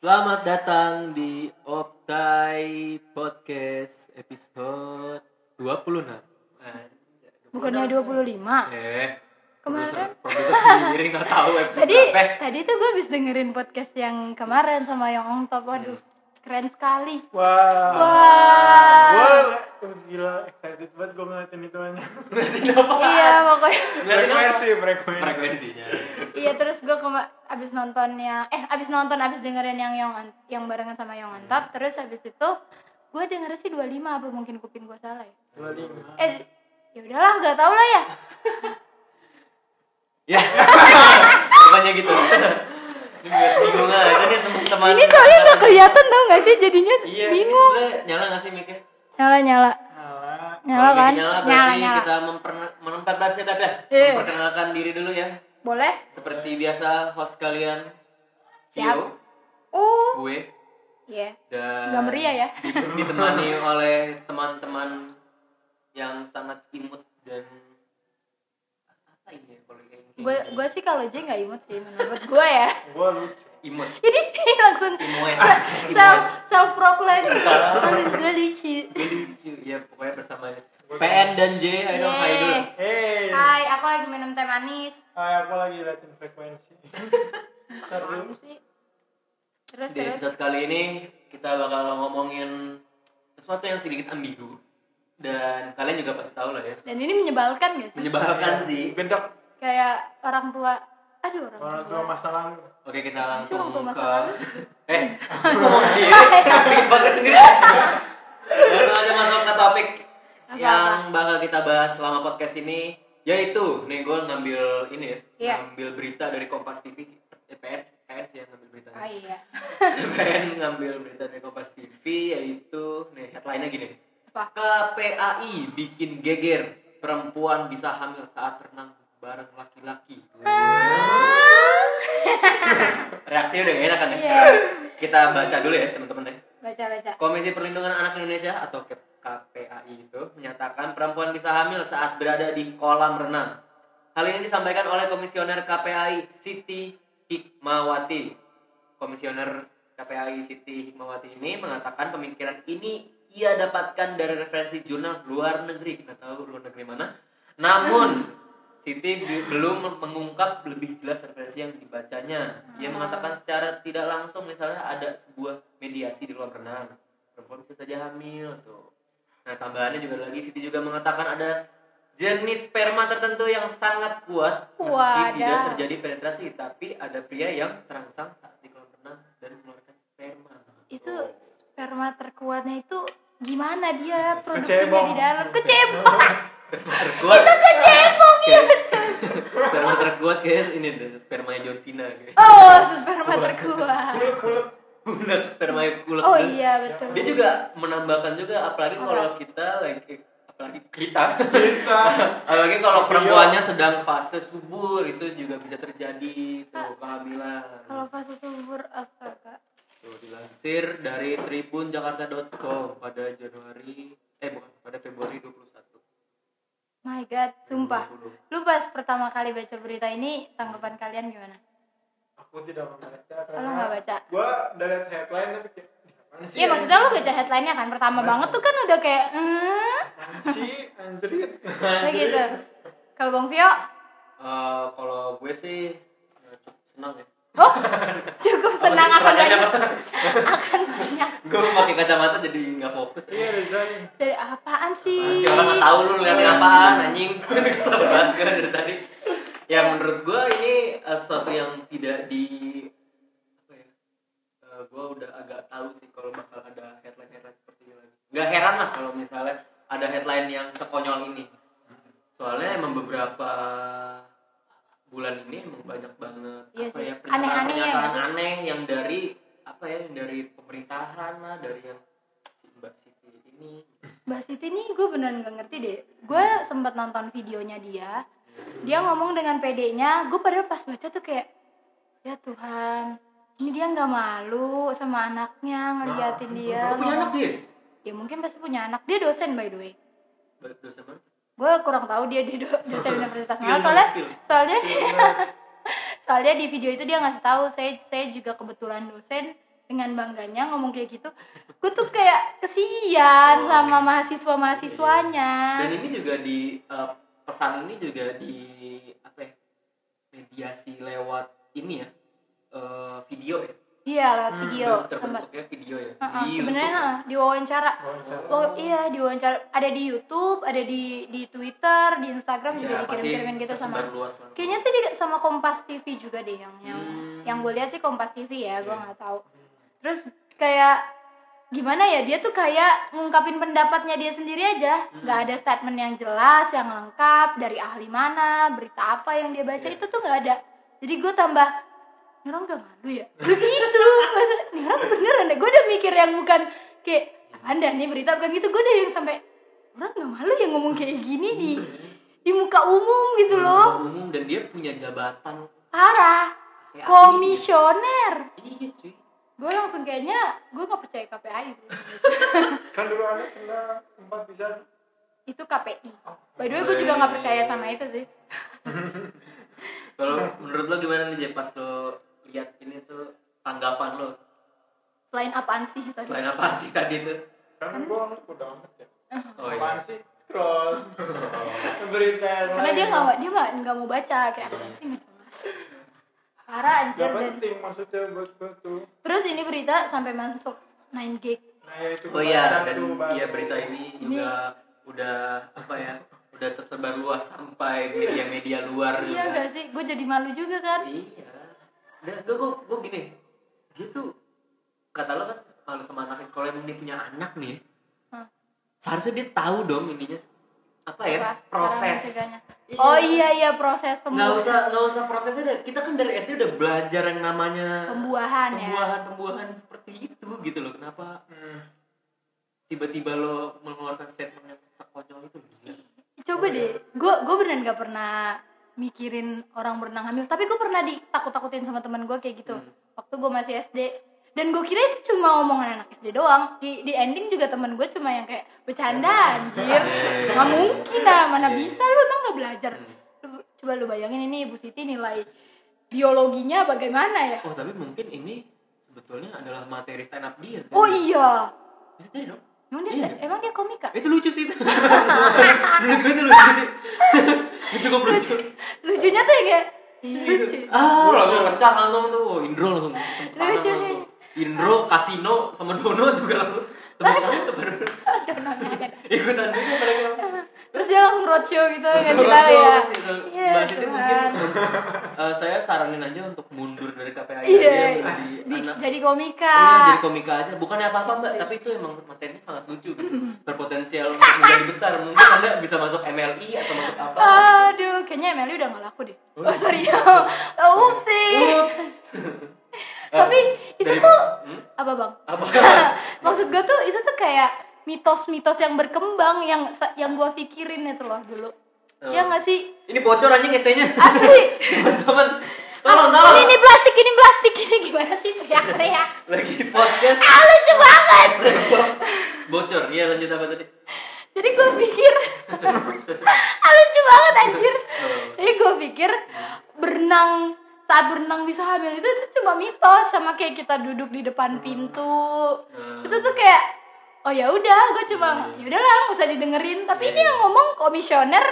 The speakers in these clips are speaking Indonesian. Selamat datang di Optai Podcast episode 26 Eh, Bukannya 25. Eh, Kemarin. produser, produser sendiri nggak tahu episode Tadi berapa eh. tadi tuh gue habis dengerin podcast yang kemarin sama yang on top. Waduh, Iya. keren sekali. Wah. Ah. Wah. Gue gila excited banget gue ngeliatin itu aja. Iya, pokoknya Ngeliatin apa? Frekuensi, frekuensi. Frekuensinya iya terus gue kema- abis nontonnya eh abis nonton abis dengerin yang yang on- yang barengan sama yang on Iya. top terus abis itu gue denger sih 25 apa mungkin kuping gue salah ya Dua lima. eh ya udahlah gak tau lah ya Ya, pokoknya gitu Ini buat bingung aja nih teman-teman ini soalnya gak kelihatan tau gak sih jadinya Iya, ini bingung sebenernya nyala nggak sih mic-nya? nyala nyala Nah, nyala Kalau mic kan Nyala nyala berarti nyala kita memperna- menempat bahasa dadah Iya. Memperkenalkan diri dulu ya boleh Seperti biasa host kalian Siap. Vio, uh gue, iya dan Nggak meriah ya. di- ditemani oleh teman-teman yang sangat imut dan apa ini ya kalau kayak gini? gue gue sih kalau J nggak imut sih menurut gue ya gue lucu. imut jadi langsung Imoes. self Imoes. self proclaim menurut gue lucu Dia lucu ya pokoknya bersama PN dan J Idol Yeay. Hai dulu Hey, Hai, aku lagi minum teh manis. hai, aku lagi ngeliatin frekuensi. Seru. Apaan sih? Terus di terus. episode kali ini kita bakal ngomongin sesuatu yang sedikit ambigu dan kalian juga pasti tahu lah ya Dan ini menyebalkan gak sih? menyebalkan sih Gendok Kayak orang tua. Aduh orang, orang tua. tua masa lalu. oke kita Sih, langsung orang tua masa ke lalu. eh aku ngomong sendiri bikin podcast sendiri langsung aja masuk ke topik Apa-apa? yang bakal kita bahas selama podcast ini yaitu nih gue ngambil ini ya Iya. ngambil berita dari Kompas TV eh, PN PN sih yang ngambil berita Oh iya. PN ngambil berita dari Kompas TV yaitu nih headline-nya gini Apa? KPAI bikin geger perempuan bisa hamil saat renang bareng laki-laki Ah. reaksinya udah gak enak kan ya Iya. kita baca dulu ya teman-teman ya Baca baca. Komisi Perlindungan Anak Indonesia atau K- KPAI itu menyatakan perempuan bisa hamil saat berada di kolam renang. Hal ini disampaikan oleh Komisioner KPAI Siti Hikmawati. Komisioner KPAI Siti Hikmawati ini mengatakan pemikiran ini ia dapatkan dari referensi jurnal luar negeri. Kita tahu luar negeri mana. Namun Siti bi- belum mengungkap lebih jelas referensi yang dibacanya. Dia Ah. mengatakan secara tidak langsung misalnya ada sebuah mediasi di kolam renang. Perempuan bisa saja hamil tuh. Nah, tambahannya juga lagi Siti juga mengatakan ada jenis sperma tertentu yang sangat kuat meski Wadah. tidak terjadi penetrasi, tapi ada pria yang terangsang saat di kolam renang dan mengeluarkan sperma. Itu sperma terkuatnya itu gimana dia produksinya Kecebong. di dalam kecebong sperma Oh, terkuat. Itu kecebong ya sperma terkuat kayak ini deh, spermanya John Cena kayak. oh sperma terkuat Kuluk kuluk. Bulat sperma kulak. oh Dan iya betul Dia juga menambahkan juga apalagi Apa? kalau kita lagi apalagi kita Kita. apalagi kalau perempuannya sedang fase subur itu juga bisa terjadi tuh kehamilan. Ah. kalau fase subur astaga Tuh, dilansir dari tribunjakarta.com pada Januari eh bukan pada Februari 21. my god sumpah 20. lu pas pertama kali baca berita ini tanggapan kalian gimana Aku tidak membaca kalau nggak karena baca gue udah liat headline tapi kayak apaan sih? Iya maksudnya lu baca headline-nya kan pertama banget tuh kan udah kayak eh Apaan sih anjrit. kayak gitu. Kalau Bang Vio, Eh, kalau gue sih eh, cukup senang ya. oh cukup Apa senang sih akan pertanyaannya, banyak Pak? akan banyak. gue pakai kacamata jadi nggak fokus. Iya resign. Jadi apaan Si sih? orang nggak tahu lu liatin apaan anjing. Kesel banget gue dari tadi. Ya menurut gue ini eh, sesuatu yang tidak di apa ya? Eh, gue udah agak tahu sih kalau bakal ada headline-headline seperti ini lagi. Nggak heran lah kalau misalnya ada headline yang sekonyol ini. Soalnya emang beberapa bulan ini emang banyak banget Iya apa sih. ya Aneh-aneh ya nggak pernyataan-pernyataan sih? aneh yang dari apa ya yang dari pemerintahan lah dari yang si Mbak Siti ini Mbak Siti nih gue beneran gak ngerti deh. Gue sempet nonton videonya dia. Dia ngomong dengan PD-nya. Gue padahal pas baca tuh kayak ya Tuhan. Ini dia nggak malu sama anaknya ngeliatin dia. Lu punya anak Nah, ngomong. dia Ya mungkin pasti punya anak. Dia dosen by the way. dosen mana? gue kurang tahu dia di do- dosen universitas Skill mana dong, soalnya skill. soalnya iya. soalnya di video itu dia ngasih tahu saya saya juga kebetulan dosen dengan bangganya ngomong kayak gitu gue tuh kayak kesian Oh. Iya, sama mahasiswa mahasiswanya Dan ini juga di eh, pesan ini juga di apa ya? Mediasi lewat ini ya. eh, video ya. iya lewat Hmm, video sama Terbentuknya video ya. Heeh, di sebenarnya YouTube. heeh, di wawancara Wawancara. Oh iya di wawancara ada di YouTube, ada di di Twitter, di Instagram juga Ya, pasti dikirim-kirimin gitu sama. tersebar luas langsung. Kayaknya sih di- sama Kompas TV juga deh yang yang Hmm. yang gue lihat sih Kompas TV ya, gue Iya. nggak tahu. Terus kayak gimana ya dia tuh kayak ngungkapin pendapatnya dia sendiri aja, Hmm. nggak ada statement yang jelas, yang lengkap dari ahli mana, berita apa yang dia baca Iya. itu tuh nggak ada. Jadi gue tambah "Ini orang gak malu ya begitu masa "Ini orang beneran deh gue udah mikir yang bukan kayak apaan dah nih berita bukan gitu gue udah yang sampai orang gak malu ya ngomong kayak gini di di muka umum gitu Iya, loh Umum, umum dan dia punya jabatan parah kayak komisioner ahli. Iya cuy. gue Ya, langsung kayaknya gue nggak percaya KPI sih kan dulu anda pernah sempat bisa Ah, itu KPI by the way gue juga nggak percaya sama itu sih Kalau menurut lo gimana nih Jay pas lo lihat ini tuh tanggapan lo selain apaan sih tadi selain apa sih tadi tuh? kan gua udah amat ya Oh iya. apaan sih scroll berita yang karena lain. dia nggak ya? dia nggak nggak mau baca kayak apaan sih nggak jelas parah anjir Gak dan penting maksudnya buat gua tuh terus ini berita sampai masuk 9 gig nah ya itu Oh iya baca dan tuh, baca. iya berita ini juga udah apa ya udah tersebar luas sampai media-media luar Iya juga. gak sih? Gue jadi malu juga kan? Iya. Dan gue gue gue gini, dia tuh kata lo kan malu sama anaknya. Kalau emang dia punya anak nih, ya, Hah. seharusnya dia tahu dong ininya apa ya Apa? Cara proses. mencegahnya. Oh iya iya proses Nggak pembuahan, usah nggak usah prosesnya deh. Kita kan dari SD udah belajar yang namanya pembuahan ya. pembuahan pembuahan seperti itu gitu loh. Kenapa Hmm. tiba-tiba lo mengeluarkan statement yang sekonyol itu? Gila. Coba ya? deh, gue gue beneran gak pernah mikirin orang berenang hamil, tapi gue pernah ditakut-takutin sama teman gue kayak gitu. Hmm. Waktu gue masih SD. Dan gue kira itu cuma omongan anak SD doang. Di di ending juga temen gue cuma yang kayak bercanda anjir. Iya. Gak mungkin lah, Iya, mana iya. bisa lu emang gak belajar. Hmm. Lu- coba lu bayangin ini Ibu Siti nilai biologinya bagaimana ya? Oh tapi mungkin ini sebetulnya adalah materi stand up dia. Oh iya. Bisa jadi dong. Oh, Emang dia Iya. emang dia komika? Itu lucu sih itu. Menurut gue itu lucu sih. Itu cukup lucu. Lucunya tuh ya kayak lucu. Ah, langsung pecah langsung tuh. Wah, Indro langsung tepuk tangan Lucu nih. langsung. Indro, Kasino, sama Dono juga langsung tepuk tangan tepuk tangan. Sodononya kan. Ikutan juga mereka. Terus dia langsung roadshow gitu ngasih Langsung tahu ya. langsung gitu. Iya, Mbak Siti mungkin Tuhan. eh, saya saranin aja untuk mundur dari KPI Iya. aja bi- jadi anak Jadi komika. Iya, jadi komika aja. Bukannya apa-apa mbak, Iya. tapi itu emang materinya sangat lucu gitu. Berpotensial untuk menjadi besar. Mungkin anda bisa masuk MLI atau masuk apa. Oh, Aduh, kayaknya Emily udah gak laku deh. Oh, sorry. iya. Oh, ups sih. Ups. Tapi itu Dari- tuh Hmm? apa, Bang? Apa? Maksud gue tuh itu tuh kayak mitos-mitos yang berkembang yang sa- yang gua pikirin itu loh dulu. Oh. Ya nggak sih? Ini bocor anjing ST-nya. Asli. Teman-teman, tolong tolong. Ini, ini plastik, ini plastik, ini gimana sih teriak-teriak? Lagi podcast Ah, lucu banget. bocor. Iya lanjut apa tadi? Jadi gue pikir ah, lucu banget anjir. Oh, Jadi gue pikir berenang saat berenang bisa hamil itu itu cuma mitos sama kayak kita duduk di depan pintu. Hmm. Itu tuh kayak oh ya udah, gue cuma ya udahlah nggak usah didengerin. Tapi ini yang ngomong komisioner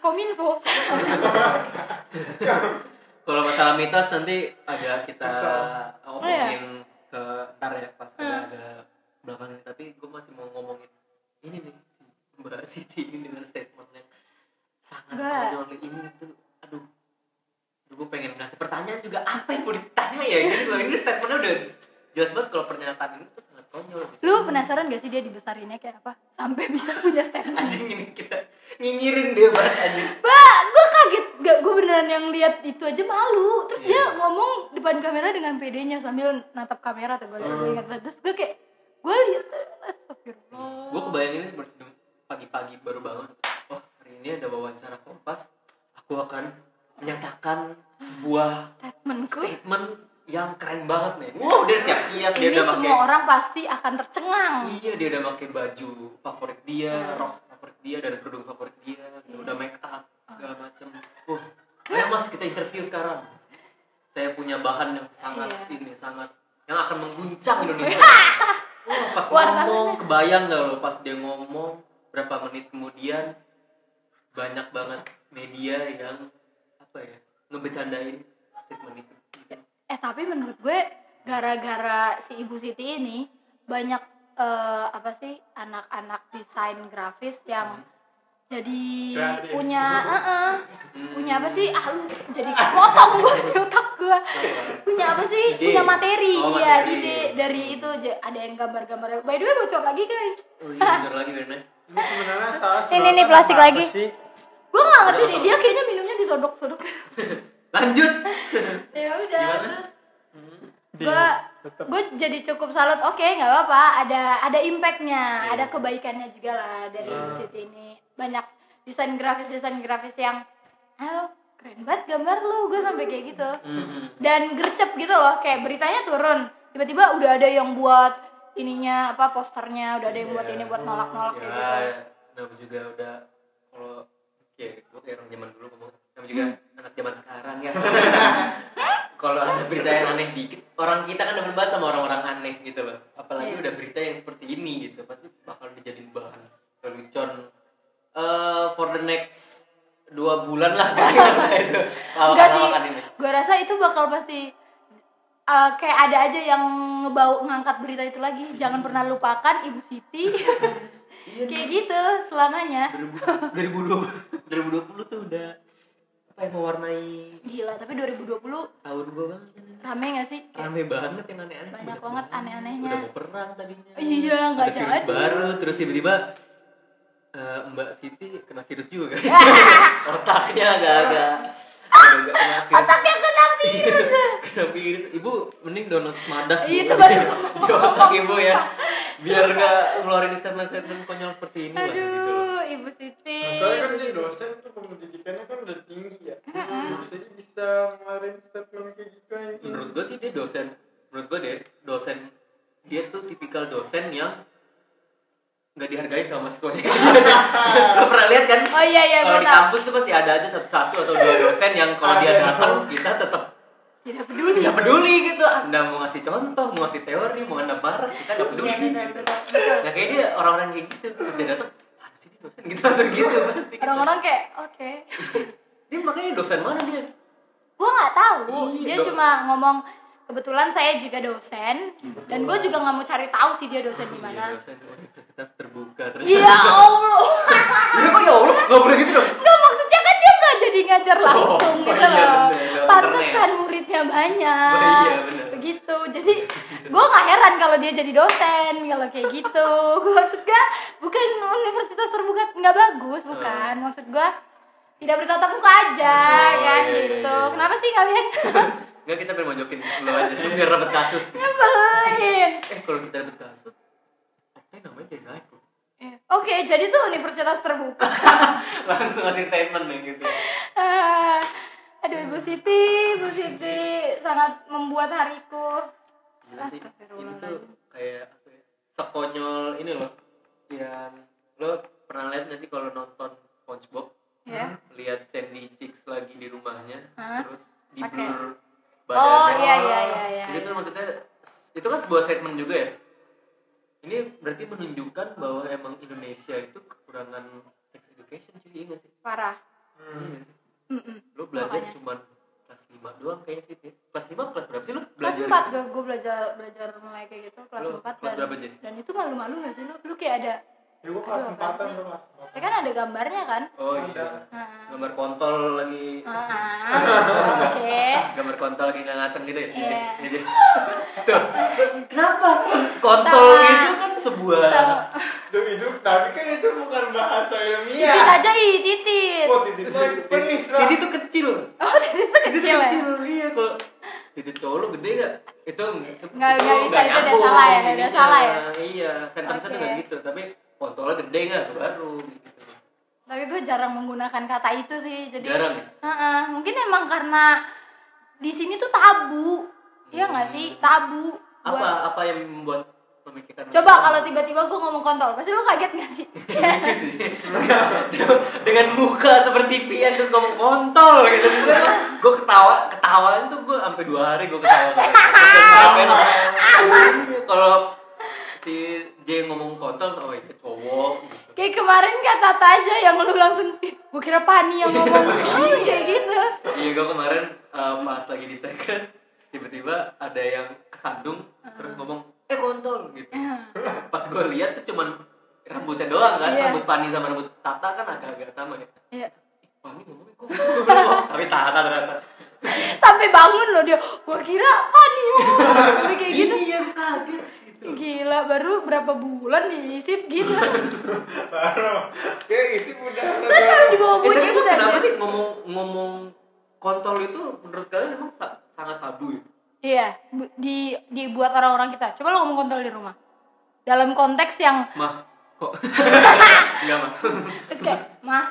Kominfo. Kalau masalah mitos nanti agak kita Masalah. Oh, iya. omongin ke ntar ya pas Hmm. ada ada belakangan tapi gue masih mau ngomongin ini nih si Mbak Siti ini dengan statement yang sangat Nggak. konyol ini tuh aduh aduh gue pengen ngasih pertanyaan juga apa yang mau ditanya ya ini loh ini statementnya udah jelas banget kalau pernyataan ini tuh sangat konyol gitu. Lu penasaran gak sih dia dibesarinnya kayak apa? Sampai bisa punya statement. anjing ini kita nyinyirin dia banget anjing Wah, gue kaget gak gue beneran yang lihat itu aja malu terus Iya. dia ngomong depan kamera dengan pedenya sambil natap kamera tuh gue gue ingat banget terus gue kayak gue lihat astagfirullah gue kebayanginnya baru senyum pagi-pagi baru bangun oh hari ini ada wawancara kompas aku akan menyatakan sebuah statement gue statement yang keren banget nih wow dia siap-siap dia ini udah semua pakai orang pasti akan tercengang iya dia udah pakai baju favorit dia rok favorit dia dan kerudung favorit dia gitu. udah make up segala macem uh ayo mas kita interview sekarang saya punya bahan yang sangat Iya. ini sangat yang akan mengguncang Indonesia. Wah, pas Wartawan. ngomong, kebayang gak lo pas dia ngomong berapa menit kemudian banyak banget media yang apa ya ngebecandain statement itu. Eh tapi menurut gue gara-gara si Ibu Siti ini banyak eh, apa sih anak-anak desain grafis yang jadi Kreatif. punya eh-eh, Hmm. punya apa sih ah lu jadi potong gue di otak gue punya apa sih Ide. punya materi Oh, iya materi. ide dari itu aja. ada yang gambar-gambar by the way bocor lagi guys Oh iya, bentar lagi Rena. Ini sebenarnya salah Ini- sedotan ini plastik apa lagi. sih? gue nggak ngerti Udah, deh udah. dia kayaknya minumnya disodok-sodok Lanjut. ya udah Gimana? terus Di- gue Iya, tetep. gue jadi cukup salut oke nggak apa-apa ada ada impactnya ada kebaikannya juga lah dari Iya. Ibu Siti ini banyak desain grafis desain grafis yang halo keren banget gambar lu gue sampai kayak gitu Hmm. dan gercep gitu loh kayak beritanya turun tiba-tiba udah ada yang buat ininya apa posternya udah ada yang Iya. buat ini buat nolak-nolak ya, kayak gitu namanya juga udah kalau ya gue kayak orang zaman dulu ngomong namanya juga Hmm. anak zaman sekarang ya kalau ada berita yang aneh dikit orang kita kan demen banget sama orang-orang aneh gitu loh apalagi Iya. udah berita yang seperti ini gitu pasti bakal dijadiin bahan lelucon eh for the next dua bulan lah Gitu. kayaknya itu Enggak sih, lawakan-lawakan kan ini gue rasa itu bakal pasti uh, kayak ada aja yang ngebau ngangkat berita itu lagi. Jangan pernah lupakan Ibu Siti. kayak gitu selamanya. 2020 2020 tuh udah apa yang mewarnai Gila, tapi 2020 tahun gue banget kan ini. rame gak sih? Kayak- rame banget yang aneh-aneh Banyak Udah banget perang, aneh-anehnya. udah mau perang tadinya Iya, nggak Ada virus jadi. baru terus tiba-tiba eh, Mbak Siti kena virus juga kan otaknya agak-agak agak kena virus Otaknya kena Iya, gitu virus. kena virus ibu mending download semadas Iya, Bu. itu baru di otak ibu ya biar nggak ngeluarin statement-statement konyol seperti ini lah gitu loh. Aduh, Ibu Siti. Masalahnya kan dia dosen tuh pendidikannya kan udah tinggi ya. Biasanya bisa ngeluarin statement kayak gitu anjing. menurut gue sih dia dosen menurut gue deh dosen dia tuh tipikal dosen yang nggak dihargain sama siswanya lo pernah lihat kan Oh iya iya, kalau gue di tahu. kampus tuh pasti ada aja satu, satu atau dua dosen yang kalau dia Ada. datang kita tetap Tidak peduli. tidak peduli gitu anda mau ngasih contoh mau ngasih teori mau anda marah kita nggak peduli Iya, betul, gitu. betul, betul. nah kayak dia orang-orang kayak gitu terus dia datang "Apaan sih ini dosen gitu langsung gitu pasti Orang-orang kayak oke. dia makanya dosen mana dia gue nggak tahu Iya, dia dok. cuma ngomong kebetulan saya juga dosen Hmm, dan gue juga nggak mau cari tahu sih dia dosen di Iya, mana dosen universitas terbuka ternyata iya allah Iya, kok ya allah nggak boleh gitu dong nggak maksudnya kan dia nggak jadi ngajar langsung Oh, gitu iya, loh bener, lewat pantesan internet. muridnya Oh, banyak iya, bener. begitu jadi gue nggak heran kalau dia jadi dosen kalau kayak gitu gue maksud gue bukan universitas terbuka nggak bagus bukan maksud gue tidak bertatap muka aja Oh, kan iya, iya, gitu iya. kenapa sih kalian Enggak kita pengen mojokin lo aja biar dapet kasus. nyebelin Eh kalau kita dapet kasus, apa namanya jadi naik loh. Iya. Oke, jadi tuh universitas terbuka. Langsung ngasih statement nih gitu. Ah, Aduh, Ibu Siti, Ibu Siti sangat membuat hariku. Gila sih. Ini tuh Astagfirullahaladzim. kayak apa ya? Sekonyol ini loh. Yang lo pernah lihat gak sih kalau nonton SpongeBob? Hmm, Ya. Lihat Sandy Chicks lagi di rumahnya, Hah? terus di Pakai. blur Oh, badannya. iya iya iya iya. Jadi itu maksudnya itu kan sebuah statement juga ya. Ini berarti menunjukkan bahwa emang Indonesia itu kekurangan sex education cuy, iya nggak sih? Parah. Hmm. Iya nggak sih? Mm-mm. Lu belajar Makanya. cuman kelas 5 doang kayaknya sih. Tit. Kelas 5 kelas berapa sih lu Kelas belajar? gitu? 4 gue, gue belajar belajar mulai kayak gitu kelas Lu 4 kelas dan, berapa, Jen? dan itu malu-malu gak sih lu? Lu kayak ada Ya gua Aduh, kelas apaan empatan sih? tuh kelas empatan. ya kan ada gambarnya kan? Oh Ada. iya. Nah. Gambar kontol lagi Ah, Oke. gambar kontol lagi nggak ngaceng gitu ya. Iya. Iya, Jen. Tuh. Kenapa? Kontol Sama. itu kan sebuah So, Itu itu tapi kan itu bukan bahasa Iya. titit ilmiah. aja ih, titit. Oh, titik penis lah. Jadi itu kecil. Oh, titit tuh Titik kecil ya? kecil iya kalau titik cowok lu gede gak? Itu Nggak- itu nggak bisa, nggak itu udah nyambung salah ya, udah ininya. salah ya? Iya, sentence Oke. okay. gitu, tapi kontolnya gede gak baru gitu. Tapi gue jarang menggunakan kata itu sih. Jadi Jarang ya? Heeh, mungkin emang karena di sini tuh tabu. Iya nggak sih? Tabu. Hmm. Apa Buat- apa yang membuat pemikiran Coba kalau tiba-tiba gue ngomong kontol, pasti lo kaget nggak sih? lucu sih. Dengan muka seperti pian terus ngomong kontol gitu. Gue ketawa, ketawaan tuh gue sampai dua hari gue ketawa. Sampai- sampai- sampai- kalau si J ngomong kontol oh ini cowok gitu. Kayak kemarin kata Tata aja yang lu langsung, "Ih, gua kira Pani yang ngomong. Langsung kayak gitu. iya gue kemarin eh, pas lagi di second tiba-tiba ada yang kesandung terus Ah. ngomong eh kontol gitu Iya. pas gue lihat tuh cuman rambutnya doang kan Iya. rambut Pani sama rambut Tata kan agak-agak sama ya Iya. Ih, Pani ngomongnya kontol tapi Tata ternyata Sampai bangun loh dia, gua kira Pani yang ngomong. Sampai kayak gitu. iya kaget gitu Gila, baru berapa bulan diisip gitu. parah kayak isi udah Terus harus dibawa Eh, gue tapi gitu emang kenapa aja. sih ngomong ngomong kontol itu menurut kalian emang sa- sangat tabu ya? Iya, bu- di dibuat orang-orang kita. Coba lo ngomong kontol di rumah. Dalam konteks yang Mah, kok? Enggak, Mah. terus kayak, "Mah,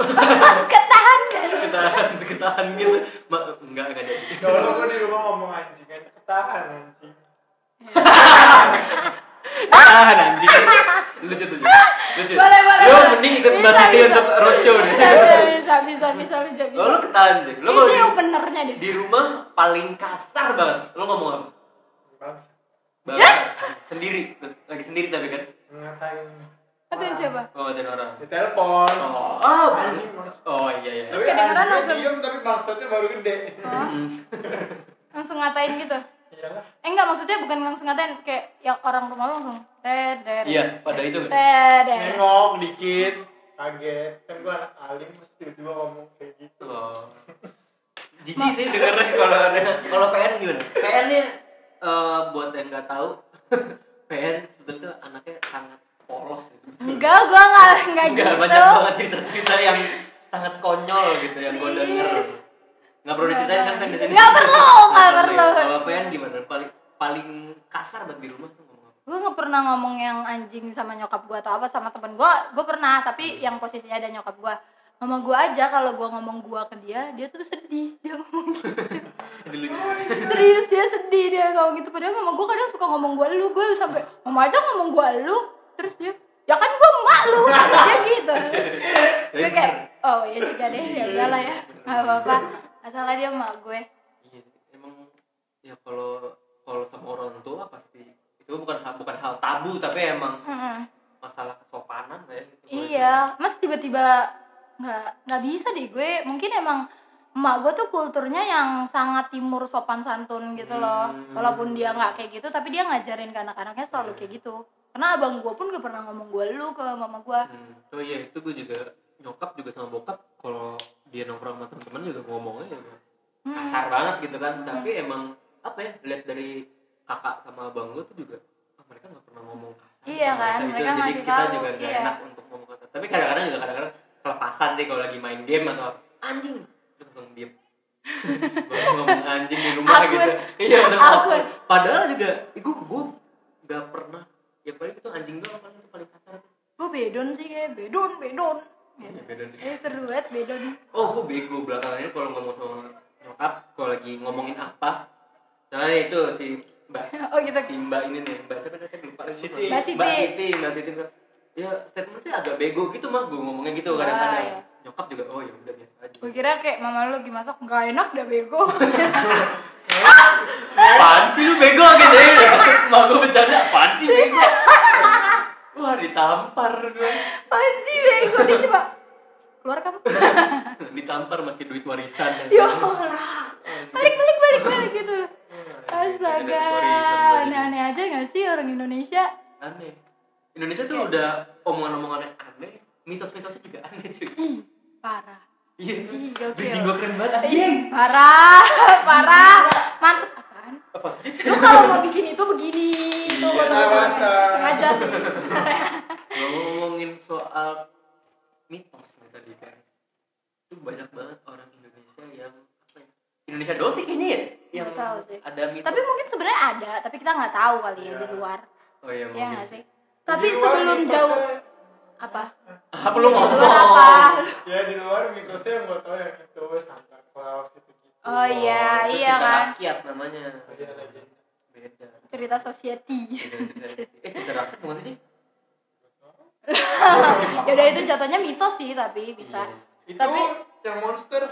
ketahan gak sih?" Ketahan, ketahan gitu. Mah, enggak, enggak jadi. kalau gue Ya di rumah ngomong anjing aja ketahan anjing Ketahan anjing. Lucu tuh. Lucu. Boleh, boleh. Lo boleh. mending ikut Bisa, Mbak Siti bisa. untuk roadshow deh. Oh, Bisa, bisa, bisa, bisa, bisa, bisa, Lo bisa. lo ketahan, Jeng. Lo Itu kalau di, openernya deh. di rumah paling kasar banget. Lo ngomong apa? Bangsa, Bangsa. Sendiri. Tuh, Lagi sendiri tapi kan. ngatain Atau yang siapa? Oh, ngatain orang. di telepon Oh, oh, Anjing, bangsa. Oh, iya, iya. tapi kedengeran anjingnya langsung. diem tapi bangsatnya baru gede Oh, Hmm. langsung ngatain gitu. iyalah Eh enggak maksudnya bukan langsung ngatain kayak yang orang rumah lo langsung teder. Iya, pada itu kan. Teder. nengok dikit kaget kan gue anak alim mesti tiba-tiba ngomong kayak gitu Oh. Jijik sih dengernya kalau ada kalau PN gimana? PN nya eh, buat yang nggak tahu PN sebetulnya anaknya sangat polos gitu. Enggak, gua enggak enggak Nggak, banyak gitu. banget cerita-cerita yang sangat konyol gitu yang gue denger. Please. Nggak perlu diceritain kan Nggak, PN di nggak. sini. Nggak perlu, nggak ya. perlu. Kalau PN gimana? Paling paling kasar buat di rumah tuh ngomong apa? gue nggak pernah ngomong yang anjing sama nyokap gue atau apa sama temen gue gue pernah tapi yang posisinya ada nyokap gue mama gue aja kalau gue ngomong gue ke dia dia tuh sedih dia ngomong gitu Itu lucu. serius dia sedih dia ngomong gitu padahal mama gue kadang suka ngomong gue lu gue sampai mama aja ngomong gue lu terus dia ya kan gue emak lu dia gitu terus gue kayak oh ya juga deh ya udah lah ya nggak apa-apa asalnya dia emak gue Iya, emang ya kalau kalau sama orang tua pasti itu bukan hal- bukan hal tabu tapi emang Mm-mm. masalah kesopanan lah ya gitu. Iya, mas tiba-tiba nggak nggak bisa deh gue. Mungkin emang emak gue tuh kulturnya yang sangat timur sopan santun gitu loh. Hmm. Iya. Walaupun dia nggak kayak gitu, tapi dia ngajarin ke anak-anaknya selalu kayak gitu. Karena abang gue pun gak pernah ngomong gue lu ke mama gue. Hmm. oh iya itu gue juga nyokap juga sama bokap kalau dia nongkrong sama teman-teman juga ngomongnya ya, juga Hmm. kasar banget gitu kan tapi emang apa ya lihat dari kakak sama abang gue tuh juga ah, mereka nggak pernah ngomong kasar Iya sama kan, mereka jadi ngasih kita tahu, juga nggak iya. enak untuk ngomong kasar tapi kadang-kadang juga kadang-kadang kelepasan sih kalau lagi main game atau apa, anjing terus langsung diem Gua langsung ngomong anjing di rumah Awkward. gitu iya langsung Awkward. awkward. padahal juga gue gue nggak pernah ya paling itu anjing doang paling itu paling kasar Gue bedon sih kayak bedon bedon. Gitu. Iya, bedon. Eh, seru banget bedon. oh gue bego belakangan ini kalau ngomong sama nyokap kalau lagi ngomongin apa misalnya itu si mbak Oh gitu. si mbak ini nih mbak siapa tadi lupa lagi Siti. mbak Mbak Siti. Siti mbak Siti bilang, ya statementnya agak bego gitu mah gue ngomongnya gitu kadang-kadang Wah, iya. nyokap juga oh ya udah biasa aja Gue kira kayak mama lu lagi masak gak enak dah bego. apaan sih lu bego gitu ya mau gue bercanda apaan sih bego wah ditampar gue Apaan sih bego dia coba keluar kamu. ditampar pakai duit warisan dan ya Allah. balik balik balik balik gitu loh astaga Nah, aneh-aneh aja gak sih orang Indonesia aneh Indonesia Iya. tuh udah omongan-omongannya aneh mitos-mitosnya juga aneh cuy ih parah iya Ih, gokil. Iya. jijik gue keren banget anjing ih parah parah mantep apaan apa sih lu kalau mau bikin itu begini tuh Iya, foto apa? masa. sengaja sih Kalau ngomongin soal mitos nih tadi kan itu banyak banget orang Indonesia yang apa ya Indonesia doang sih kayaknya ya yang Nggak tahu sih. ada mitos tapi mungkin sebenarnya ada tapi kita nggak tahu kali ya di Iya. luar oh iya ya mungkin nggak sih sih tapi Di luar sebelum mitosnya- jauh apa apa lu Di luar ngomong Iya, apa? ya di luar mitosnya yang gue tau yang itu Santa Claus gitu gitu oh iya itu iya cerita kan rakyat namanya Iya, legenda. beda cerita society Beda cerita- eh cerita rakyat bukan sih Ci? yaudah itu jatuhnya mitos sih tapi bisa Iya. itu Tapi- yang monster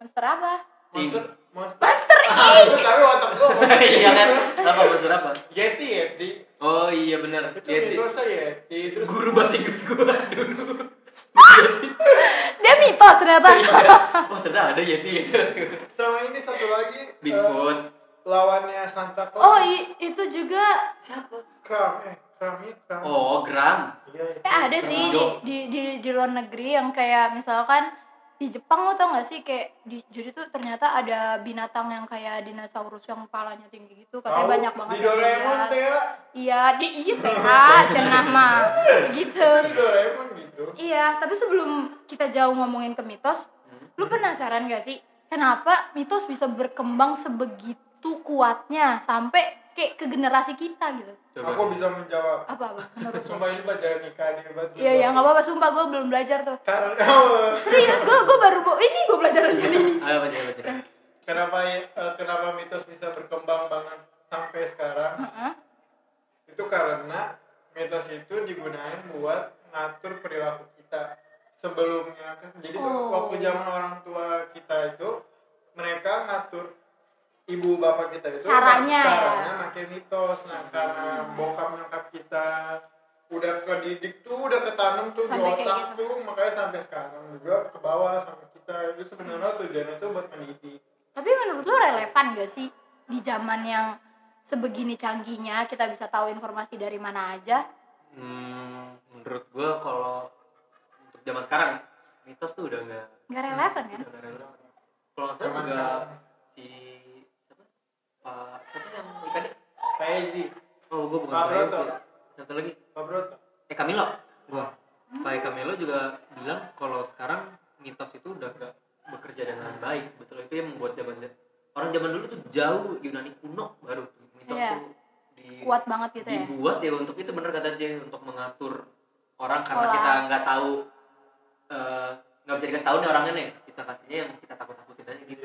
monster apa Ih, monster monster Monster ah Inc. lu tahu otak gua monster iya kan apa maksud apa Yeti Yeti oh iya benar itu Yeti mitos Yeti ya. terus guru bahasa Inggris gua dulu Dia mitos ternyata. oh ternyata ada Yeti itu sama ini satu lagi eh, Bigfoot lawannya Santa Claus Oh, i- itu juga siapa Kram eh Kram itu Kram oh Gram Iya, itu. eh, ada sih di, di di di luar negeri yang kayak misalkan di Jepang lo tau gak sih kayak di, jadi tuh ternyata ada binatang yang kayak dinosaurus yang kepalanya tinggi gitu katanya Tahu, banyak banget di yang Doraemon lihat. teh ya. iya di iya ah cenah mah gitu di Doraemon gitu Iya, tapi sebelum kita jauh ngomongin ke mitos, Hmm. lu penasaran gak sih kenapa mitos bisa berkembang sebegitu kuatnya sampai kayak ke generasi kita gitu? aku bisa menjawab Apa apa? Menurut lu? sumpah ini pelajaran nikah dia banget Iya iya nggak apa-apa, sumpah gue belum belajar tuh. karena Serius, gue gue baru mau- ini gue belajar dari ini. ayo baca baca kenapa eh, kenapa mitos bisa berkembang banget sampai sekarang Heeh. itu karena mitos itu digunain buat ngatur perilaku kita sebelumnya kan jadi tuh Oh. waktu zaman orang tua kita itu mereka ngatur ibu bapak kita itu Caranya ya. caranya makin mitos nah karena bokap nyokap kita udah kedidik tuh udah ketanam tuh Sampai kayak di gitu. otak tuh makanya sampai sekarang juga ke bawah sama kita itu sebenarnya tujuannya tuh buat mendidik Tapi menurut lu relevan gak sih di zaman yang sebegini canggihnya kita bisa tahu informasi dari mana aja? Hmm, menurut gua kalau untuk zaman sekarang ya, mitos tuh udah nggak Gak relevan kan? udah nggak relevan. Kalau nggak salah Ya? Zaman juga sekarang. si siapa? Pak siapa yang ikannya? kayak Ezi Oh, gua bukan Pak Brian Broto. sih. Satu lagi, Pak Broto eh Camilo. Gua. Hmm. Pak Camilo juga bilang kalau sekarang mitos itu udah nggak bekerja dengan baik sebetulnya itu yang membuat zaman orang zaman dulu tuh jauh Yunani kuno baru tuh mitos Iya. tuh di- Kuat banget gitu ya? dibuat ya untuk itu bener kata Jay untuk mengatur orang karena Pola. kita nggak tahu eh, nggak bisa dikasih tahu nih orangnya nih kita kasihnya yang kita takut takutin aja gitu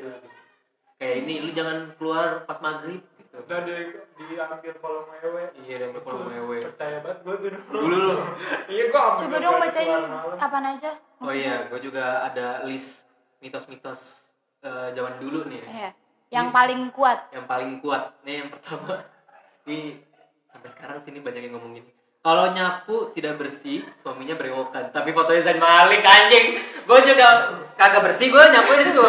kayak ini lu jangan keluar pas maghrib gitu udah di diambil kolom ewe iya dan kalau Terus mewe percaya banget gue tuh dulu dulu lu iya gue Coba dong bacain apaan aja? oh iya gue juga ada list mitos-mitos eh, zaman dulu nih ya. Iya. Yang paling kuat. yang paling kuat nih yang pertama ini sampai sekarang sini banyak yang ngomongin kalau nyapu tidak bersih suaminya berewokan tapi fotonya Zain Malik anjing gue juga kagak bersih gue nyapu itu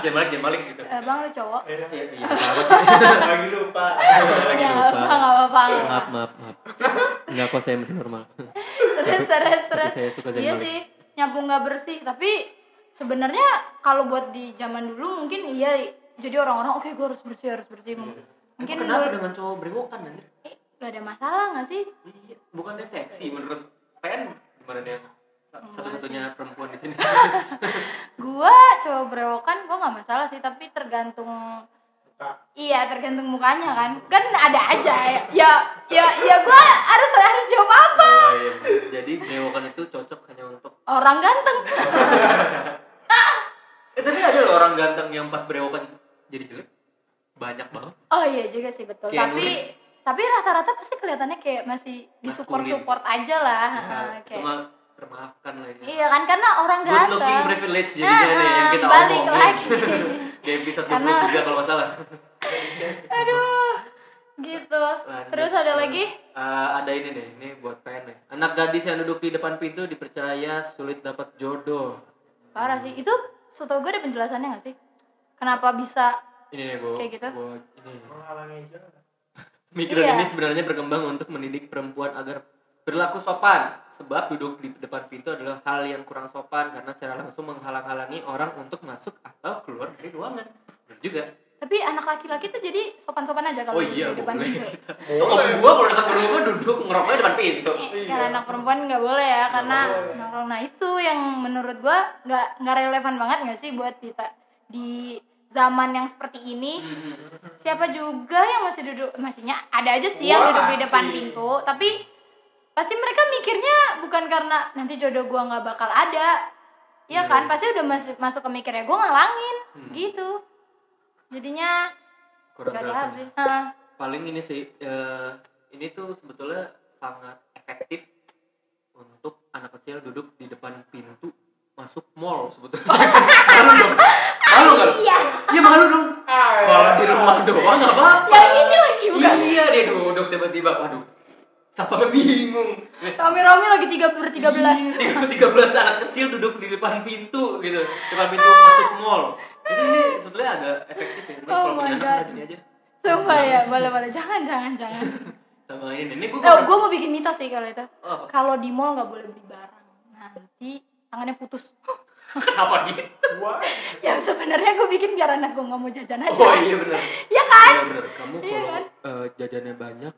Zain Malik Zain Malik gitu Eh, bang lu cowok. iya iya apa sih? lagi lupa Lagi Ya, Iya, lupa. apa enggak apa-apa. maaf maaf maaf nggak kok saya masih normal Terus terus tapi terus. saya suka Zain Iya Malik. sih, nyapu nggak bersih, tapi sebenarnya kalau buat di zaman dulu mungkin iya jadi orang-orang oke gue harus bersih harus bersih Iya. mungkin kenapa dulu- dengan cowok berewokan anjir eh, nggak ada masalah nggak sih Iya, bukannya seksi menurut PN gimana deh satu-satunya perempuan di sini Oh, gua cowok berewokan gua nggak masalah sih tapi tergantung iya tergantung mukanya kan kan ada aja ya ya ya, ya gua harus harus jawab apa oh, iya. jadi berewokan itu cocok hanya untuk orang ganteng Eh tapi ada loh orang ganteng yang pas berewokan jadi jelek. Banyak banget. Oh iya juga sih betul. Keanu tapi Reeves. tapi rata-rata pasti kelihatannya kayak masih di support support aja lah. Heeh, Nah, kayak- Cuma termaafkan lah ya. Ah, Iya kan karena orang Good looking ganteng. Ah, privilege jadinya nih yang kita balik omongin. lagi. Di episode Karena- 23 kalau nggak salah. Aduh, gitu. Lanjut. Terus ada lagi? Eh, ada ini nih, ini buat PN nih. Anak gadis yang duduk di depan pintu dipercaya sulit dapat jodoh. Parah sih. Itu setahu gue ada penjelasannya nggak sih? Kenapa bisa? Ini nih gue, Kayak gitu? gue ini. menghalangi jalan Mikiran Iya. ini sebenarnya berkembang untuk mendidik perempuan agar berlaku sopan. Sebab duduk di depan pintu adalah hal yang kurang sopan karena secara langsung menghalang-halangi orang untuk masuk atau keluar dari ruangan. Bener juga. Tapi anak laki-laki tuh jadi sopan-sopan aja Oh kalau di iya, depan gitu. boleh pintu. kita. Boleh. Om gua kalau datang ke rumah duduk ngerokoknya depan pintu. Eh, Iya. Kalau anak perempuan nggak boleh ya karena boleh. nongkrong. Nah itu yang menurut gua nggak nggak relevan banget nggak sih buat di ta- di zaman yang seperti ini. Siapa juga yang masih duduk maksudnya ada aja sih yang Wah, duduk di depan asik. pintu, tapi pasti mereka mikirnya bukan karena nanti jodoh gua nggak bakal ada. Iya kan? Pasti udah masuk masuk ke mikirnya gua ngalangin gitu. Jadinya Hmm, Kurang nggak tahu relevan. sih. Nah, Paling ini sih eh, ini tuh sebetulnya sangat efektif untuk anak kecil duduk di depan pintu masuk mall sebetulnya malu dong malu kan Iya. iya malu dong Ah, kalau di rumah doang nggak apa-apa Yang ini lagi bukan? iya dia duduk tiba-tiba waduh satpamnya bingung Rame-rame lagi tiga per tiga belas. tiga tiga belas anak kecil duduk di depan pintu gitu depan pintu masuk mall itu ini sebetulnya agak efektif ya Cuman Oh kalau punya my anak udah God. gini aja Sumpah ya, boleh-boleh. Jangan, jangan, jangan. sama ini ini gue Eh, gue mau bikin mitos sih kalau itu. Oh, apa? Kalau di mall nggak boleh beli barang. Nanti tangannya putus. kenapa gitu Wah, ya sebenarnya gue bikin biar anak gue nggak mau jajan aja. oh iya benar Ya kan? iya benar kamu Iya kalau kan? eh, jajannya banyak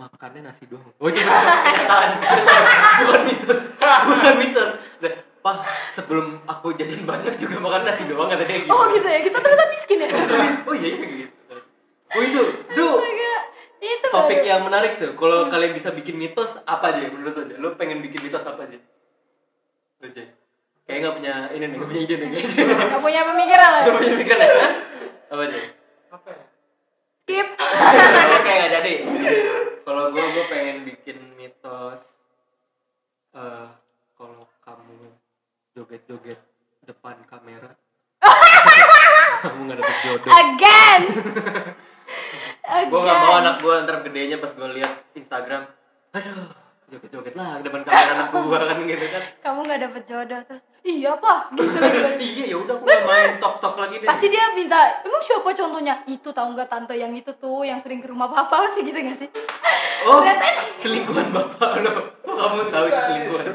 makannya nasi doang oh itu bener. kenyataan Kenyataan. bukan mitos bukan mitos Nah, pak sebelum aku jajan banyak juga makan nasi doang kata dia gitu Oh gitu ya, kita ternyata miskin ya. oh iya iya gitu oh itu tuh Astaga, itu topik baru. yang menarik tuh kalau Hmm. kalian bisa bikin mitos apa aja menurut lo aja lo pengen bikin mitos apa aja lo aja kayak nggak punya ini nih nggak punya ide nih guys Gak punya pemikiran nggak lah. punya pikiran ya apa aja apa ya? Skip. Lo kayak nggak jadi kalau gue gue pengen bikin mitos eh kalau kamu joget-joget depan kamera kamu nggak dapet jodoh Again. gue gak mau Again. anak gue ntar gedenya pas gue liat Instagram aduh joget-joget lah ke depan kamera anak gue kan gitu kan Kamu nggak dapet jodoh terus. Iya pak. Gitu, gitu. iya ya udah aku gak main tok tok lagi deh Pasti dia minta, emang siapa contohnya? Itu tahu nggak tante yang itu tuh yang sering ke rumah papa sih gitu nggak sih? oh Ternyata- selingkuhan bapak lo kok kamu tahu itu selingkuhan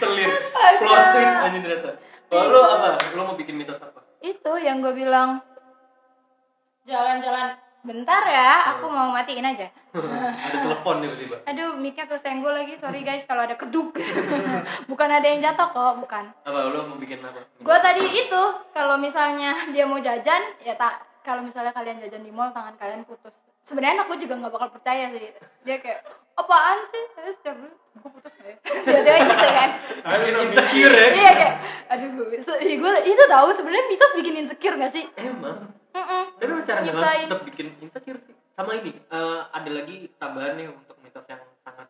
selir Astaga. plot twist anjing ternyata kalau lo apa lo mau bikin mitos apa itu yang gue bilang jalan-jalan bentar ya aku mau matiin aja ada telepon tiba-tiba aduh mic-nya kesenggol lagi sorry guys kalau ada keduk bukan ada yang jatuh kok bukan apa lo mau bikin apa gue tadi itu kalau misalnya dia mau jajan ya tak kalau misalnya kalian jajan di mall tangan kalian putus sebenarnya aku juga nggak bakal percaya sih dia kayak apaan sih saya setiap dulu gue putus kayak dia dia gitu kan Ayo, bikin tapi- insecure ya iya kayak aduh gue itu tahu sebenarnya mitos bikin insecure gak sih emang Mm-mm. tapi memang secara nggak Nyiptain. langsung tetap bikin insecure sih sama ini eh, ada lagi tambahan nih untuk mitos yang sangat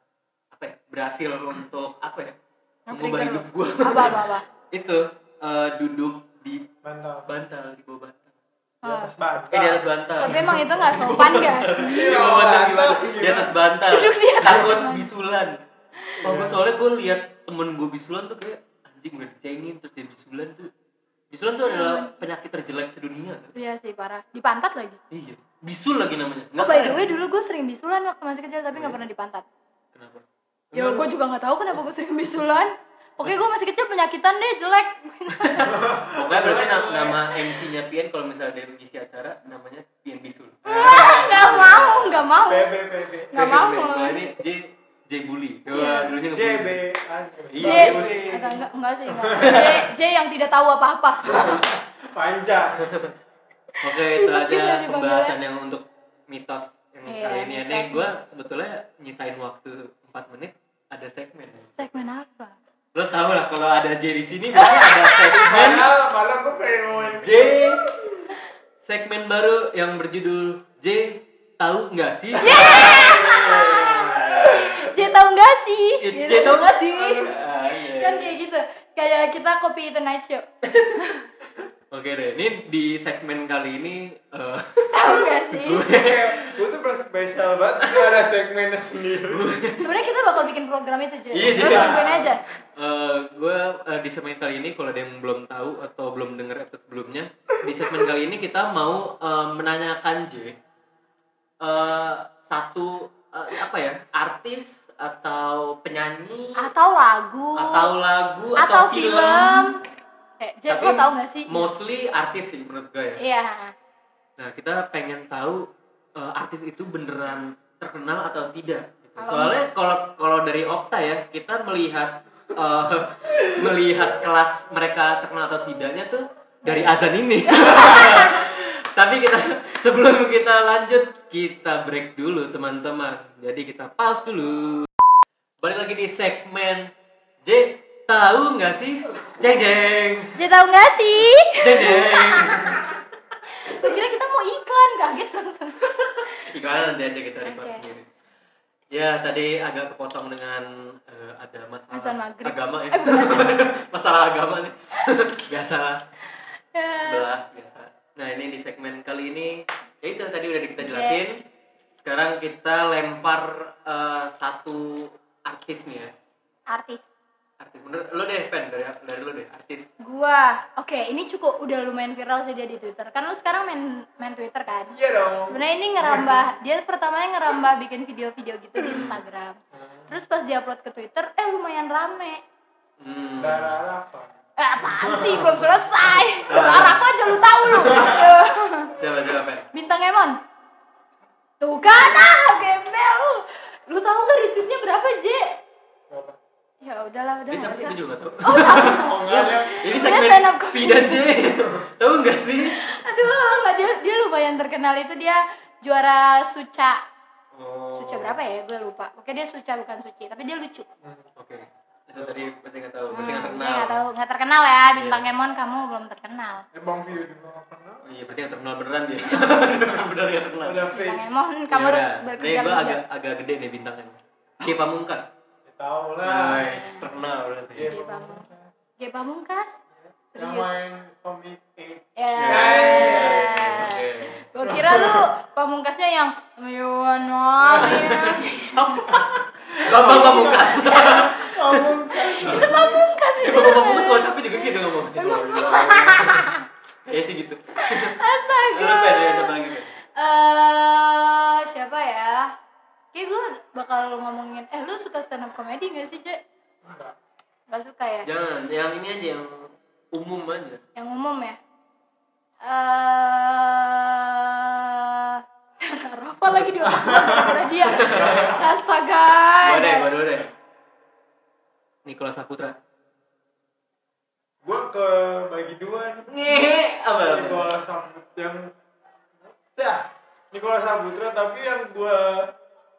apa ya berhasil untuk apa ya mengubah Nge-trigger hidup lo. gue apa apa apa itu eh, duduk di Bantal. Ah. bantal di bawah bantal Di eh di atas bantal. atas bantal tapi emang itu nggak sopan gak sih di Iya, bawah bantal gimana bantal di atas bantal Duduk di atas takut bantal. bisulan oh gue soalnya gue lihat temen gue bisulan tuh kayak anjing udah dicengin terus dia bisulan tuh bisulan tuh adalah penyakit terjelek sedunia kan? iya sih parah di pantat lagi iya bisul lagi namanya oh by the keren. way dulu gue sering bisulan waktu masih kecil tapi nggak pernah di pantat kenapa ya gue juga nggak tahu kenapa gue sering bisulan oke gue masih kecil penyakitan deh jelek Pokoknya berarti na- nama MC-nya Pian kalau misalnya dia mengisi acara namanya Pian Bisul. nggak mau nggak mau BBBB. nggak mau Nah, ini J J Bully. Wah, Iya. dulunya ngebully. JB. J Iya, Bagus. Atau enggak, enggak sih enggak. J, J yang tidak tahu apa-apa Panjang. Oke, itu Ribet aja juga dipanggilnya. pembahasan yang untuk mitos yang Iya, kali ini. Ini mitos. gue sebetulnya nyisain waktu 4 menit ada segmen. segmen apa Lo tau lah kalau ada J di sini pasti ada segmen Padahal, padahal gue pengen ngomongin J segmen baru yang berjudul J tahu nggak sih? J tahu enggak sih J Gitu. tahu nggak sih? Ah, iya. kan kayak gitu kayak kita kopi tonight show Oke deh, ini di segmen kali ini eh, tahu enggak sih Kayak, Gue tuh pernah spesial banget gak ada segmennya sendiri sebenarnya kita bakal bikin program itu J Iya, Lo J. tungguin aja eh, gue eh, di segmen kali ini kalau ada yang belum tahu atau belum dengar episode sebelumnya, di segmen kali ini kita mau eh, menanyakan J eh, satu eh, apa ya artis atau penyanyi atau lagu atau lagu atau, atau film eh J lo tau gak sih Mostly artis sih menurut gue ya. iya Nah, kita pengen tahu eh, artis itu beneran terkenal atau tidak. gitu. Kalau- Soalnya kalau kalau dari Opta ya, kita melihat eh, melihat kelas mereka terkenal atau tidaknya tuh dari azan ini. Tapi kita sebelum kita lanjut, kita break dulu teman-teman. Jadi kita pause dulu. Balik lagi di segmen J tahu nggak sih? Jeng jeng. J tau gak sih Jeng jeng. gue kira kita mau iklan kaget langsung Iklanan nanti aja kita record Oke. sendiri. Ya tadi agak kepotong dengan eh, ada masalah Azan maghrib. agama ya. Eh, bukan azan. masalah agama nih. biasa Ya. sebelah biasa. Nah ini di segmen kali ini ya itu tadi udah Iya. kita jelasin. Sekarang kita lempar eh, satu artis nih ya. artis Artis menurut lo deh pen dari dari lo deh artis. gua oke ini cukup udah lumayan viral sih dia di twitter kan lu sekarang main main twitter kan Iya dong. sebenarnya ini ngerambah dia pertamanya ngerambah bikin video-video gitu di instagram terus pas dia upload ke twitter eh lumayan rame Hmm. Dara Rafa. eh apaan sih belum selesai baru arah aku aja lu tahu lu Siapa siapa pen? bintang emon tuh kan ah gembel lu lu tahu nggak retweetnya berapa J Berapa? ya udahlah udah Dia siapa nggak sih? usah. Gue juga gak tau. Oh enggak ada. Ini Dia segmen stand up V comedy. dan J. Tahu nggak sih? aduh nggak dia dia lumayan terkenal itu dia juara suca Oh. suca berapa ya gue lupa oke dia suca bukan suci tapi dia lucu Oke. Itu tadi berarti nggak tahu. Berarti nggak Hmm, dia terkenal. Iya. nggak tahu nggak terkenal ya bintang Emon kamu belum terkenal Eh, Bang Vio juga nggak pernah. Oh, iya berarti nggak terkenal beneran dia. Bener-bener nggak terkenal. Iya, Ada bintang face. Emon kamu harus ya. Nih gue bekerja kerja agak agak gede nih bintangnya. Ki Pamungkas. Ya, Tahu lah. Nice, terkenal Iya, berarti. G Bang. Pamungkas G Pamungkas Yang serius main komik eight. ya Iya. Oke. gue iya. kira lu pamungkasnya yang Mewano Bambang Pamungkas. Oh, itu Kamu pamungkas Eh, itu Bambang Pamungkas kalau capek juga gitu ngomongnya. Iya sih gitu. astaga Lu pen ya satu lagi pen. eh siapa ya kayak gue bakal ngomongin eh lu suka stand up comedy gak sih cek Enggak. gak suka ya Jangan, yang ini aja yang umum aja. yang umum ya eh Rafa lagi di otak gue gara-gara dia astaga Gua deh, gua dulu deh. Nikola Saputra. Gue ke bagi dua nih. Nih, apa? Nikola Saputra yang ya Nikola Saputra tapi yang gue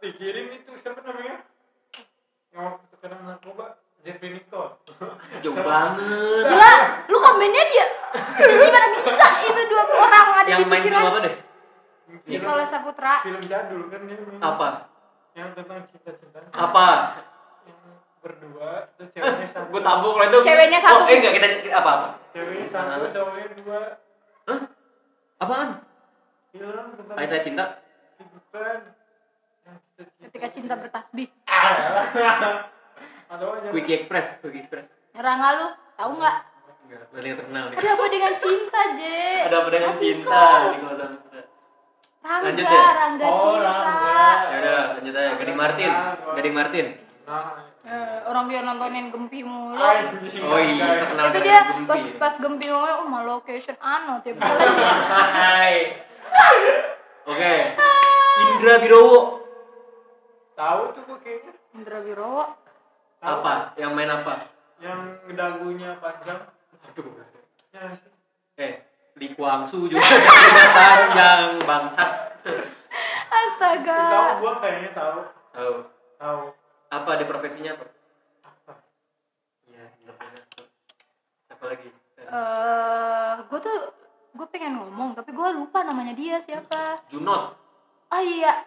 pikirin itu siapa namanya? Yang waktu terkena narkoba Jeffrey Nicole. Jauh banget. gila lu komennya dia gimana bisa itu dua orang ada Yang di main pikiran film apa deh? Nikola Saputra film jadul kan dia main. Apa? Yang tentang cinta-cintaan. Apa? Yang berdua terus ceweknya satu. Gue tampuk kalau itu. Ceweknya Oh, satu. eh enggak kita kita- apa apa? Ceweknya satu, Anak-anak. cowoknya dua. Hah? Apaan? Film tentang Ayat cinta. kehidupan. Yang cinta-cintaan. ketika cinta bertasbih Ah. Atau aja. Quickie Express, Quickie Express. nyerang nggak lu tahu nggak Enggak, berarti yang terkenal nih. ada apa dengan cinta J Ada apa dengan Mas cinta? Niko. Nikola Saputra. Rangga, Lanjut ya? Rangga Oh, cinta. Rangga. Ya udah, lanjut aja. Gading Martin, Gading Martin. Nah, Eh, orang dia nontonin Gempi mulu. anjing, Oh iya, guys. terkenal. itu gara-gara dia Gempi. pas pas Gempi ngomong, oh my location ano tiap kali. Hai. Oke. Indra Birowo. Tahu tuh gue kayaknya Indra Wirowo. Tahu. Apa? Yang main apa? yang dagunya panjang. Aduh. Iya. Ya, sih. Eh, Li Kuang Su juga sudah panjang bangsat. tahu Astaga. gue kayaknya tahu. Tahu. Tahu. Apa di profesinya apa? Iya, bener bener. Apa lagi? Eh, gue tuh gue pengen ngomong tapi gue lupa namanya dia siapa. Junot. Oh iya,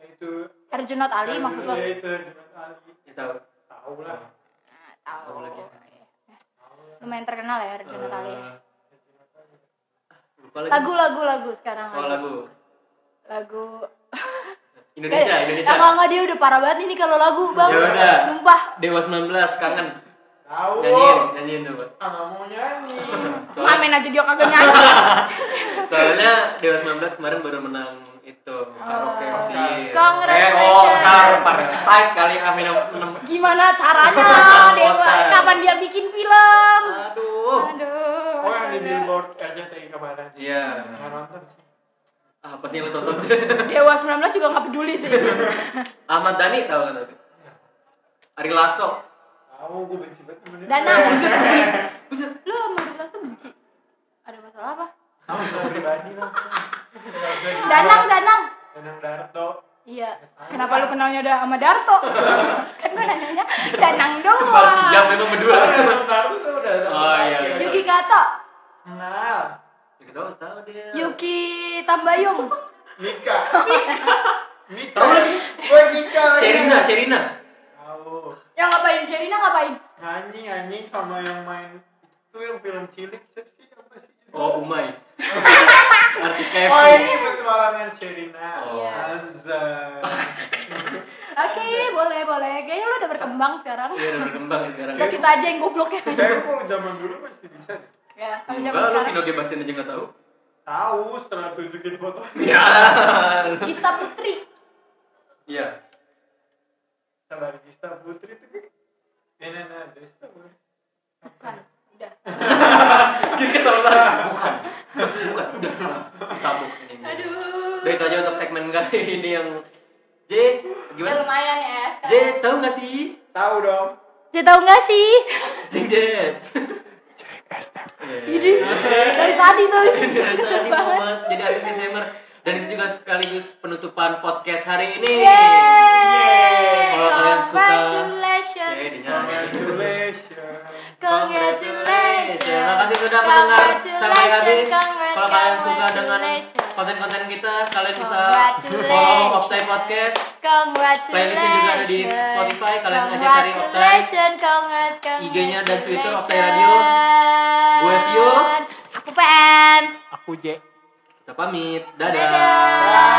Ya Itu. Herjunot Ali maksud lo. Iya, itu Herjunot Ali. Ya tahu. Tahu lah. Tahu. Tahu lagi. Lumayan terkenal ya Herjunot Ali. Eh, Lupa lagi. Lagu lagu lagu sekarang Oh, lagu. lagu. Lagu. Indonesia, Eh, Indonesia. Enggak enggak dia udah parah banget ini kalau lagu bang. Ya udah. Sumpah. Dewa 19 kangen. Tahu. Nyanyiin, nyanyiin coba. Ah, nggak mau nyanyi. Soalnya, Ngamen aja dia kagak nyanyi. soalnya Dewa 19 kemarin baru menang itu karaoke Oh, Oscar. congratulations. Eh, Oscar Parasite kali ah minum minum. Gimana caranya Dewa? Oscar. Kapan dia bikin film? Aduh. Aduh. Oh yang astaga. di billboard RCTI kemarin. Iya. Nggak nonton sih. Ah, apa sih yang lu tonton? Dewa 19 juga nggak peduli sih. Ahmad Dhani tahu kan tapi. Ari Lasso. Tahu gue benci banget sama dia. Dana. Buset. Lu sama Dewa tuh benci. Ada masalah apa? Tahu sama pribadi lah. Nggak bisa diubah. Danang, Danang. Danang Darto. Iya. Kenapa lu kenalnya udah sama Darto? kan gua nanyanya Danang doang. Kembar siap memang berdua. Danang Darto tuh udah. Oh, iya, iya. Yuki Kato, Kenal. Ya, Kita tahu tahu dia. Yuki Tambayung. Nika. nikah gue nikah lagi Sherina, Sherina. tahu Yang Ya ngapain? Sherina ngapain? nyanyi nyanyi sama yang main itu yang film cilik siapa sih apa sih Oh, Umay. Artis KFC. oh ini petualangan Sherina Oh. Iya. Anzai Oke, boleh, boleh. Kayaknya lu udah berkembang sekarang. Iya, udah berkembang ya sekarang. Udah kita aja yang goblok ya. tempo zaman dulu pasti bisa deh. Ya, kamu Enggak, zaman lu sekarang. Vino G. Bastian aja nggak tahu. tahu setelah tunjukin fotonya Iya. Ya. Gista Putri. Iya. setelah Gista Putri itu kan ini nah Gista Putri Bukan. Kan, Udah. Jadi kesel banget. Bukan. Bukan, udah salah. Tabuk ini. Aduh. Udah itu aja untuk segmen kali ini yang J Ya gimana? lumayan ya J sekarang. tahu nggak sih? tahu dong J tahu nggak sih? Jengjet. Iya. Jadi dari tadi tuh kesel banget. Jadi artis disclaimer dan itu juga sekaligus penutupan podcast hari ini. Yeay. Kalau kalian suka- Yeay, Congratulations. dinyanyi. congratulations Congratulations. Terima kasih sudah mendengar sampai habis. Congratulations, Kalau kalian suka dengan congratulations. konten-konten kita, kalian bisa Congratulations. follow Optai Podcast. Congratulations. Playlistnya juga ada di Spotify, kalian aja cari Optai. Congratulations, congrats, congrats. IG-nya dan Twitter Optai Radio. Gue Vio. Aku PN. aku J Kita pamit. Dadah.